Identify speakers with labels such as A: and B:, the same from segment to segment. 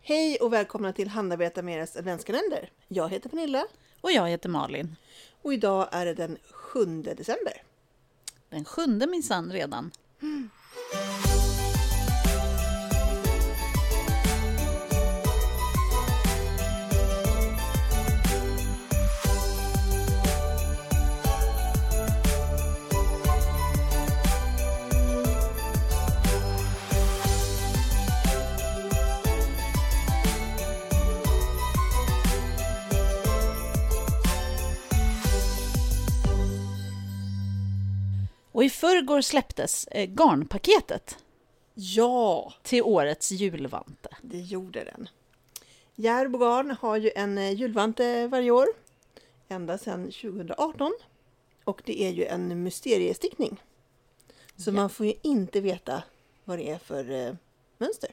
A: Hej och välkomna till Handarbeta med eras adventskalender. Jag heter Pernilla
B: Och jag heter Malin.
A: och idag är det den 7 december.
B: Den sjunde minsann redan. Och i förrgår släpptes eh, garnpaketet
A: Ja,
B: till årets julvante.
A: det gjorde den. Järbo Garn har ju en eh, julvante varje år, ända sedan 2018. Och det är ju en mysteriestickning. Så man får ju inte veta vad det är för eh, mönster.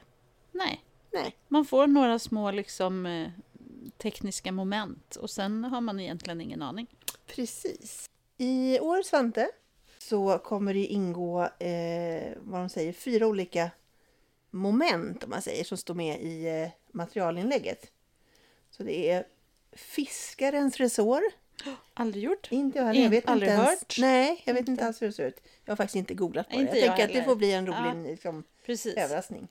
B: Nej,
A: Nej,
B: man får några små liksom eh, tekniska moment och sen har man egentligen ingen aning.
A: precis. I år, Svante, så kommer det ingå eh, vad de säger, fyra olika moment om man säger, som står med i eh, materialinlägget. Så det är fiskarens resår.
B: Aldrig gjort.
A: Inte jag heller.
B: In-
A: Jag vet
B: aldrig
A: inte ens,
B: hört.
A: Nej, jag vet inte alls hur det ser ut. Jag har faktiskt inte googlat på
B: Nej,
A: det.
B: inte
A: Jag
B: jag
A: tänker att det
B: heller.
A: får bli en rolig
B: Ja.
A: liksom,
B: Precis.
A: överraskning.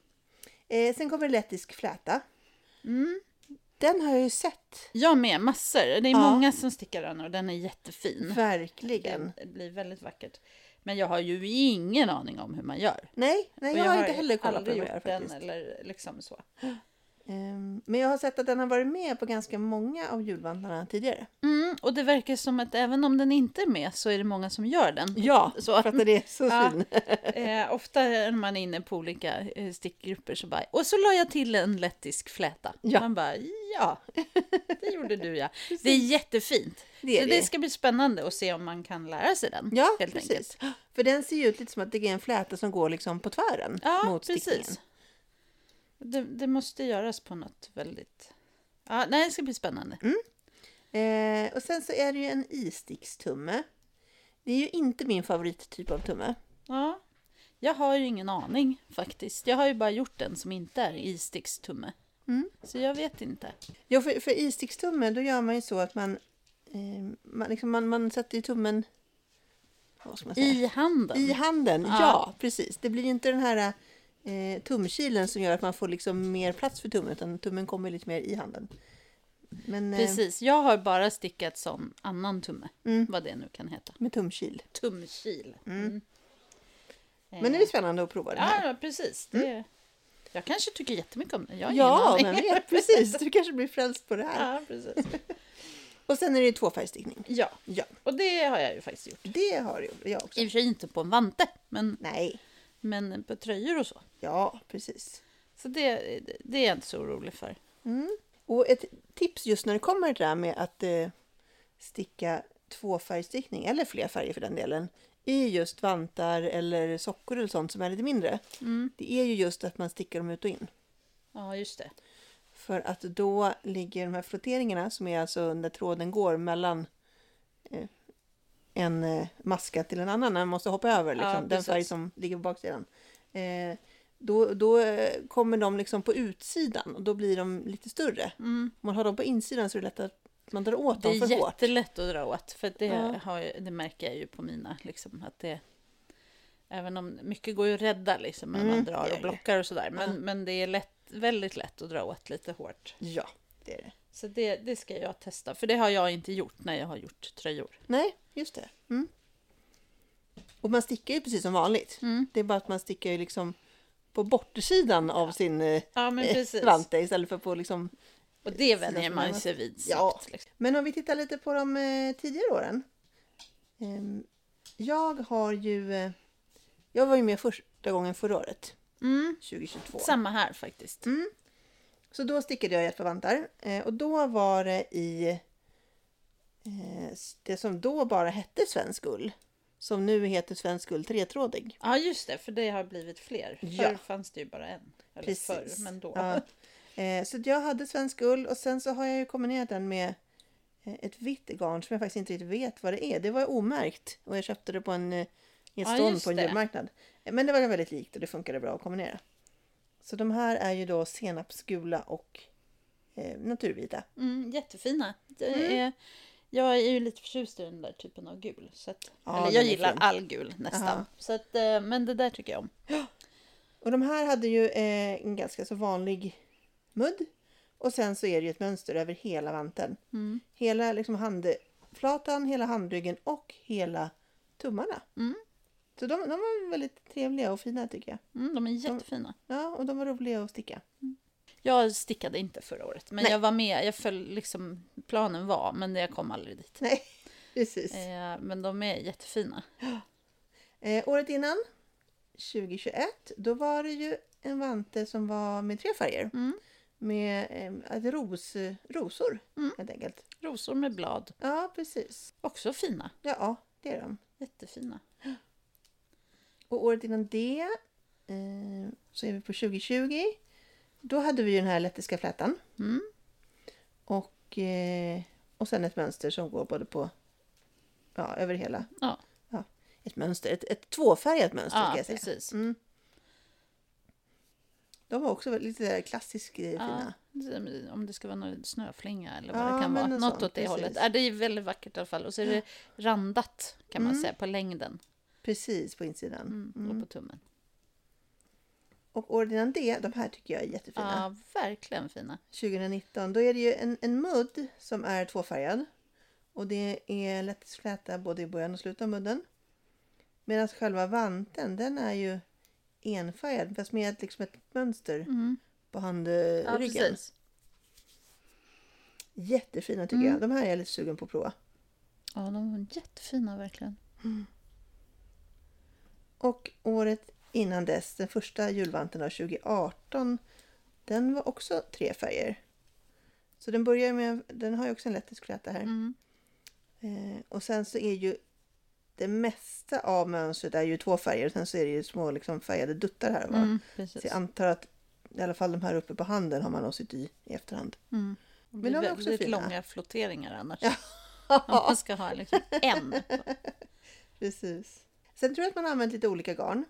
A: Eh, sen kommer lettisk fläta. Mm. Den har jag ju sett.
B: Jag med, massor. Det är
A: Ja.
B: många som stickar den och den är jättefin.
A: Verkligen.
B: Det blir väldigt vackert. Men jag har ju ingen aning om hur man gör.
A: Nej, nej
B: Och
A: jag, har inte heller kollat på
B: aldrig
A: hur man
B: gjort
A: gör
B: den
A: faktiskt.
B: eller liksom så.
A: Ehm, Men jag har sett att den har varit med på ganska många av julvandlarna tidigare.
B: Mm, och det verkar som att även om den inte är med så är det många som gör den.
A: Ja,
B: Så att
A: för att det är så
B: Ja.
A: fin.
B: Eh, ofta när man är inne på olika eh, stickgrupper så bara, och så la jag till en lettisk fläta.
A: Ja.
B: Man bara, ja, det gjorde du ja. Det är jättefint.
A: Det är
B: så
A: det.
B: det ska bli spännande att se om man kan lära sig den.
A: Ja,
B: helt
A: precis.
B: enkelt.
A: För den ser ju ut lite som att det är en fläta som går liksom på tvären
B: Ja,
A: mot stickningen.
B: precis. Det, det måste göras på något väldigt... Ja, nej, det ska bli spännande.
A: Mm. Eh, och sen så är det ju en istickstumme. Det är ju inte min favorittyp av tumme.
B: Ja. Jag har ju ingen aning faktiskt. Jag har ju bara gjort den som inte är istickstumme.
A: Mm.
B: Så jag vet inte.
A: Ja, för, för istickstumme då gör man ju så att man, eh, man, liksom, man, man sätter ju tummen vad ska man säga?
B: I handen.
A: I handen. Ja.
B: Mm. Ja.
A: precis. Det blir ju inte den här eh, tumkilen som gör att man får liksom mer plats för tummen utan tummen kommer lite mer i handen. Men eh,
B: Precis, jag har bara stickat som annan tumme.
A: Mm.
B: Vad det nu kan heta.
A: med tumkil.
B: Tumkil. Mm. Eh,
A: Men det är spännande att prova den här.
B: Ja, ja, precis. Det... Jag kanske tycker jättemycket om den. Jag har
A: Ja,
B: ingen
A: men
B: aning.
A: vet, precis. Du kanske blir frälst på det här.
B: ja, precis.
A: Och sen är det ju tvåfärgstickning.
B: Ja,
A: Ja,
B: och det har jag ju faktiskt gjort.
A: det har jag- jag också.
B: I och för sig inte på en vante, men,
A: Nej,
B: men på tröjor och så.
A: ja precis.
B: Så det, det är jag inte så orolig för.
A: Och ett tips just när det kommer till det där med att eh, sticka tvåfärgstickning, eller fler färger för den delen, i just vantar eller sockor eller sånt som är lite mindre. Det är ju just att man stickar dem ut och in.
B: Ja, just det.
A: För att då ligger de här flotteringarna som är alltså när tråden går mellan eh, en eh, maska till en annan, när man måste hoppa över liksom, den
B: precis.
A: färg som ligger på baksidan. Eh, då, då eh, kommer de liksom på utsidan och då blir de lite större. Om man har dem på insidan så är det lätt att man drar åt
B: Mm. Det
A: dem
B: är
A: för hårt.
B: jättelätt att dra åt. För det,
A: Ja.
B: har, jag- det märker jag ju på mina. Liksom, att det, även om mycket går ju att rädda liksom, när
A: Mm,
B: man
A: det
B: drar
A: gör det.
B: och blockar och sådär. Men,
A: Ja.
B: men det är lätt, väldigt lätt att dra åt lite hårt.
A: Ja, det är det.
B: Så det, det ska jag testa. För det har jag inte gjort när jag har gjort tröjor.
A: Nej, just det. Mm. Och man stickar ju precis som vanligt.
B: Mm.
A: Det är bara att man stickar ju liksom på bortsidan av sin eh,
B: Ja, men
A: eh,
B: precis.
A: vante istället för på liksom
B: Och det
A: Sidan
B: vänjer
A: som
B: man
A: närmast.
B: sig vid
A: Ja.
B: snabbt. Liksom.
A: Men om vi tittar lite på de eh, tidigare åren. Ehm, jag har ju... Eh, jag var ju med första gången förra året,
B: Mm.
A: 2022.
B: Samma här faktiskt.
A: Så då stickade jag i ett par vantar. Eh, och då var det i eh, s- det som då bara hette Svensk ull. Som nu heter Svensk ull tretrådig.
B: Ja, just det. För det har blivit fler.
A: Ja.
B: Förr fanns det ju bara en. Eller förr, men då.
A: Ja. Eh, så att jag hade Svensk ull och sen så har jag ju kombinerat den med eh, ett vitt garn som jag faktiskt inte riktigt vet vad det är. Det var omärkt och jag köpte det på en eh, i ett
B: Ja,
A: stånd
B: just
A: på en
B: det.
A: julmarknad. Eh, Men det var väldigt likt och det funkade bra att kombinera. Så de här är ju då senapsgula och eh, naturvita.
B: Mm, jättefina. Det
A: Mm.
B: är, jag är ju lite förtjust i den där typen av gul. Så att,
A: Ja,
B: eller
A: den
B: jag
A: är
B: gillar
A: fin.
B: all gul nästan.
A: Aha.
B: Så att, eh, men det där tycker jag om.
A: Och de här hade ju eh, en ganska så vanlig mudd. Och sen så är det ju ett mönster över hela vanten.
B: Mm.
A: Hela liksom handflatan, hela handryggen och hela tummarna.
B: Mm.
A: Så de, de var väldigt trevliga och fina tycker jag.
B: Mm, de är jättefina.
A: Ja, och de var roliga att sticka.
B: Jag stickade inte förra året, men
A: Nej.
B: jag var med. Jag föll liksom, planen var, men jag kom aldrig dit.
A: Nej, precis.
B: Eh, men de är jättefina.
A: Eh, året innan, 2021, då var det ju en vante som var med tre färger.
B: Mm.
A: Med eh, ett ros, rosor
B: Mm.
A: helt enkelt.
B: Rosor med blad,
A: Ja, precis.
B: också fina.
A: Ja, det är de.
B: Jättefina.
A: Och året innan det eh, så är vi på 2020. Då hade vi ju den här lettiska flätan.
B: Mm.
A: Och, eh, och sen ett mönster som går både på, ja, över hela.
B: Ja.
A: Ja, ett mönster, ett, ett tvåfärgat mönster
B: Ja,
A: kan jag säga.
B: precis.
A: Mm. De var också väldigt- lite där klassiskt eh,
B: Ja,
A: fina.
B: om det ska vara någon snöflinga eller vad
A: Ja,
B: det kan
A: men
B: vara.
A: något
B: Något
A: sånt,
B: åt det
A: precis.
B: hållet. Ja, det är väldigt vackert i alla fall. Och så är det randat kan man
A: Mm.
B: säga på längden
A: Precis på insidan.
B: mm.
A: Mm.
B: och på tummen.
A: Och året innan det, de här tycker jag är jättefina.
B: Ja, verkligen fina.
A: 2019, då är det ju en, en mudd som är tvåfärgad. Och det är lätt fläta både i början och slutet av mudden. Medan själva vanten, den är ju enfärgad fast med ett- liksom ett mönster
B: Mm.
A: på handryggen.
B: Ja, precis.
A: Jättefina tycker
B: Mm.
A: jag. De här är jag lite sugen på att prova.
B: Ja, de var jättefina verkligen.
A: Och året innan dess, den första julvanten av 2018, den var också tre färger. Så den börjar med, den har ju också en lettisk fläta här.
B: Mm.
A: Eh, och sen så är ju det mesta av mönstret är ju två färger och sen så är det ju små liksom, färgade duttar här och var.
B: Mm,
A: Så
B: precis.
A: jag antar att i alla fall de här uppe på handen har man nog sytt i i efterhand.
B: Mm. Men
A: de
B: de
A: är
B: är
A: också
B: väldigt
A: fina.
B: långa flotteringar annars. Om man ska ha liksom en.
A: Precis. Sen tror jag att man har använt lite olika garn.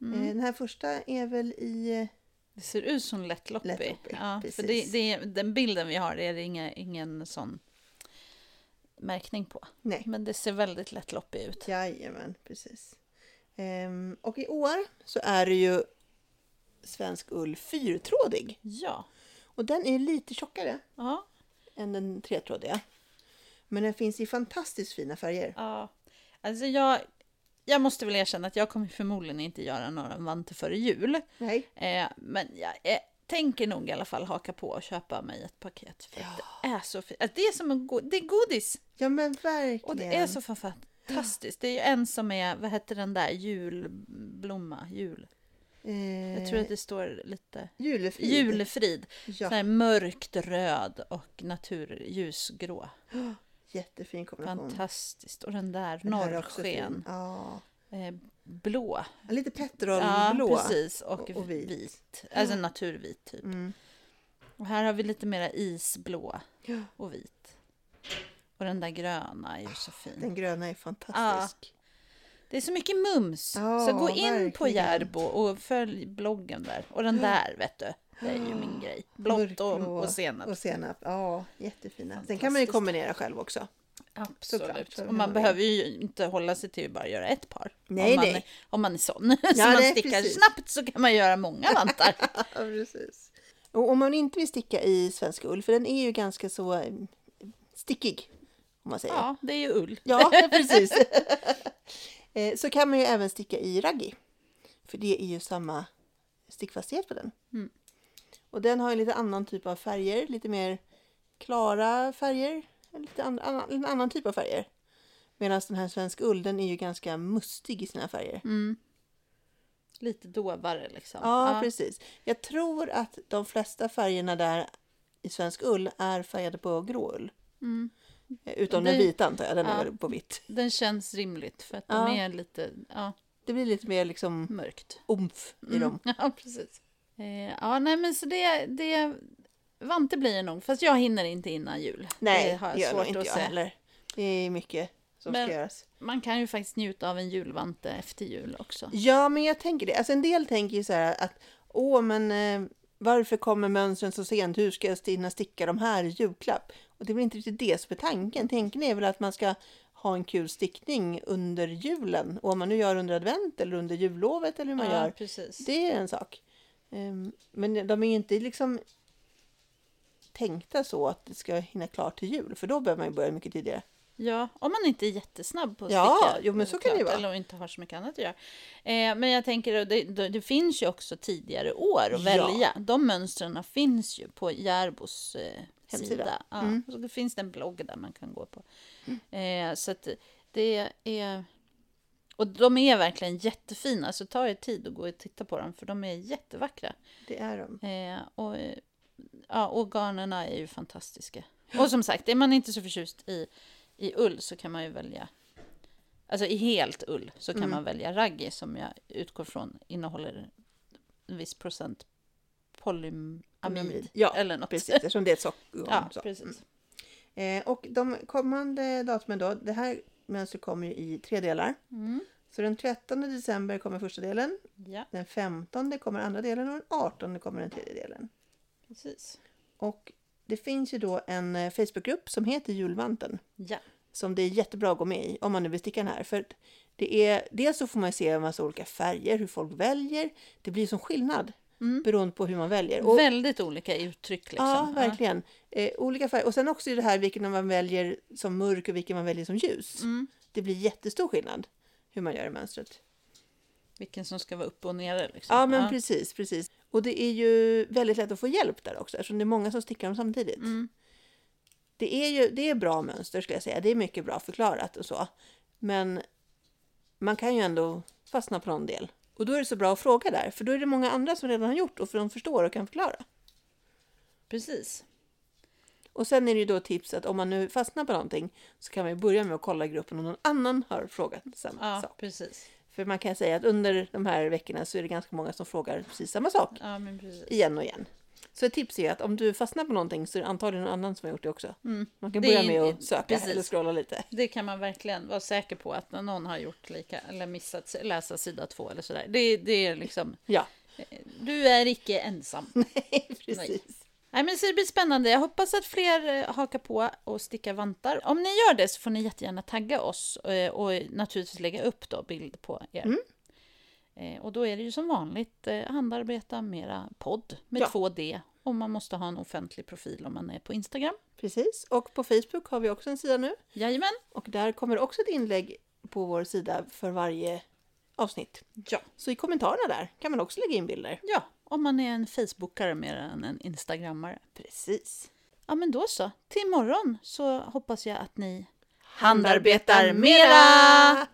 B: Mm.
A: Eh, den här första är väl i...
B: Det ser ut som lätt loppig.
A: Lätt loppig,
B: ja, för det,
A: precis.
B: det, är- den bilden vi har är det inga, ingen sån märkning på.
A: Nej.
B: Men det ser väldigt lätt loppig ut.
A: Jajamän, precis. Ehm, och i år så är det ju svensk ull fyrtrådig.
B: Ja.
A: Och den är lite tjockare
B: Ja.
A: än den tretrådiga. Men den finns i fantastiskt fina färger.
B: ja. Alltså jag, jag måste väl erkänna att jag kommer förmodligen inte göra några vanter före jul.
A: Nej.
B: Eh, men jag eh, tänker nog i alla fall haka på och köpa mig ett paket. För att det är så fint. Alltså det är som en go- det är godis.
A: Ja men verkligen.
B: Och det är så fan fantastiskt. Det är ju en som är, vad heter den där, julblomma, jul.
A: Eh,
B: Jag tror att det står lite
A: Julefrid.
B: julefrid.
A: Ja,
B: Så här mörkt röd och naturljusgrå.
A: jättefin kombination.
B: Fantastiskt. Och den där
A: Den här är också
B: norrsken.
A: fin. Ja.
B: Eh, blå.
A: Lite
B: Ja,
A: petrolblå.
B: precis. Och,
A: och- och
B: vit.
A: vit.
B: Alltså naturvit typ.
A: Mm.
B: Och här har vi lite mera isblå
A: Ja.
B: och vit. Och den där gröna är ju
A: Ah,
B: så fin.
A: Den gröna är fantastisk.
B: Det är så mycket mums.
A: Ja,
B: så gå in på
A: verkligen.
B: Järbo och följ bloggen där. Och den där vet du, det är ju min grej. Blått
A: Ah, Mörkblå
B: och, och senap.
A: Och senap. Ja, jättefina. Sen kan man ju
B: Fantastiskt.
A: kombinera själv också. såklart,
B: Absolut.
A: så
B: och
A: vill
B: man
A: man
B: behöver ju inte hålla sig till att bara göra ett par.
A: Nej,
B: om, man,
A: nej.
B: om man är sån. så
A: Ja,
B: man
A: nej,
B: stickar
A: precis.
B: snabbt så kan man göra många vantar.
A: Ja, precis. Och om man inte vill sticka i svensk ull, för den är ju ganska så eh, stickig, om man säger.
B: ja, det är ju ull.
A: Ja, precis. Eh, så kan man ju även sticka i raggi. För det är ju samma stickfasthet på den.
B: Mm.
A: Och den har ju lite annan typ av färger, lite mer klara färger. Lite an- annan- en annan typ av färger. Medan den här svensk ull, den är ju ganska mustig i sina färger.
B: Mm. Lite dovare liksom.
A: Ja, precis. Jag tror att de flesta färgerna där i svensk ull är färgade på grå ull.
B: Mm.
A: Eh, Utom
B: Det-
A: den vita antar jag, den
B: Ja.
A: är väl på vitt.
B: Den känns rimligt för att
A: Ja.
B: de är lite ja,
A: Det blir lite mer liksom
B: mörkt.
A: omf i
B: Mm,
A: dem.
B: Ja, precis. Eh, ja, nej men så det, det Vante blir det nog, fast jag hinner inte innan jul.
A: Nej,
B: det har jag
A: gör nog
B: svårt
A: inte
B: att
A: jag
B: se.
A: heller. Det är mycket som
B: Men-
A: ska göras.
B: Man kan ju faktiskt njuta av en julvante efter jul också.
A: Ja, men jag tänker det. Alltså en del tänker ju så här att "Åh, åh men eh, varför kommer mönstren så sent? Hur ska jag hinna sticka de här i julklapp? Och det är väl inte riktigt det som är tanken. Tanken är väl att man ska ha en kul stickning under julen. Och om man nu gör under advent eller under jullovet eller hur man gör.
B: precis.
A: Det är en sak. Ehm, Men de är ju inte liksom tänkta så att det ska hinna klart till jul. För då behöver man ju börja mycket tidigare.
B: Ja, om man inte är jättesnabb på att
A: Ja,
B: sticka.
A: jo, men så kan det ju vara.
B: Eller inte har så mycket annat att göra. Eh, men jag tänker, det, det, det finns ju också tidigare år
A: Ja.
B: att välja. De mönstren finns ju på Järbos eh,
A: Hemsida. Mm.
B: sida. Ja, och så finns det en blogg där man kan gå på. Eh, så att det är... Och de är verkligen jättefina, så ta er tid och gå och titta på dem, för de är jättevackra.
A: Det är de.
B: Eh, och, eh, ja, och garnerna är ju fantastiska. Och som sagt, är man inte så förtjust i, i ull så kan man ju välja... Alltså i helt ull så
A: Mm.
B: kan man välja raggi som jag utgår från innehåller en viss procent polyamid.
A: Polyamid. Ja,
B: eller något.
A: Precis, eftersom det är ett socker.
B: Ja,
A: så.
B: precis.
A: Eh, Och de kommande datumen då, det här mönstret kommer ju i tre delar.
B: Mm.
A: Så den 13 december kommer första delen,
B: Ja,
A: den 15 kommer andra delen och den 18 kommer den tredje delen.
B: precis.
A: Och det finns ju då en eh, Facebookgrupp som heter Julvanten
B: Ja,
A: som det är jättebra att gå med i om man nu vill sticka den här. För det är, dels så får man se en massa olika färger, hur folk väljer. Det blir som skillnad
B: Mm.
A: beroende på hur man väljer. Och-
B: väldigt olika uttryck liksom.
A: Ja, verkligen. Eh, olika färger. Och sen också det här vilken man väljer som mörk och vilken man väljer som ljus.
B: Mm. Typ,
A: Det blir jättestor skillnad hur man gör i mönstret.
B: Vilken som ska vara upp och nere liksom.
A: Ja, men precis, precis. Och det är ju väldigt lätt att få hjälp där också eftersom det är många som stickar dem samtidigt.
B: Mm.
A: Det är ju det är bra mönster skulle jag säga. Det är mycket bra förklarat och så. Men man kan ju ändå fastna på någon del. Och då är det så bra att fråga där, för då är det många andra som redan har gjort och för de förstår och kan förklara.
B: Precis.
A: Och sen är det ju då tips att om man nu fastnar på någonting så kan man ju börja med att kolla i gruppen om någon annan har frågat samma
B: Ja,
A: sak.
B: precis.
A: För man kan säga att under de här veckorna så är det ganska många som frågar precis samma sak
B: Ja, men precis.
A: igen och igen. Så ett tips är ju att om du fastnar på någonting så är det antagligen någon annan som har gjort det också.
B: Mm.
A: Man kan
B: Det
A: börja
B: är-
A: med att söka
B: precis.
A: eller scrolla lite.
B: Det kan man verkligen vara säker på att när någon har gjort lika eller missat s- läsa sida två eller sådär. Det, det är liksom,
A: Ja,
B: du är icke ensam.
A: precis.
B: Nej men så det blir spännande. Jag hoppas att fler eh, hakar på och stickar vantar. Om ni gör det så får ni jättegärna tagga oss eh, och naturligtvis lägga upp då bild på er.
A: Mm.
B: Eh, Och då är det ju som vanligt eh, handarbeta mera podd med
A: Ja.
B: 2D. Och man måste ha en offentlig profil om man är på Instagram.
A: Precis. Och på Facebook har vi också en sida nu.
B: Jajamän!
A: Och där kommer också ett inlägg på vår sida för varje avsnitt.
B: Ja.
A: Så i kommentarerna där kan man också lägga in bilder.
B: ja, om man är en Facebookare mer än en Instagrammare.
A: Precis.
B: Ja, men då så. Till imorgon så hoppas jag att ni
A: handarbetar mera!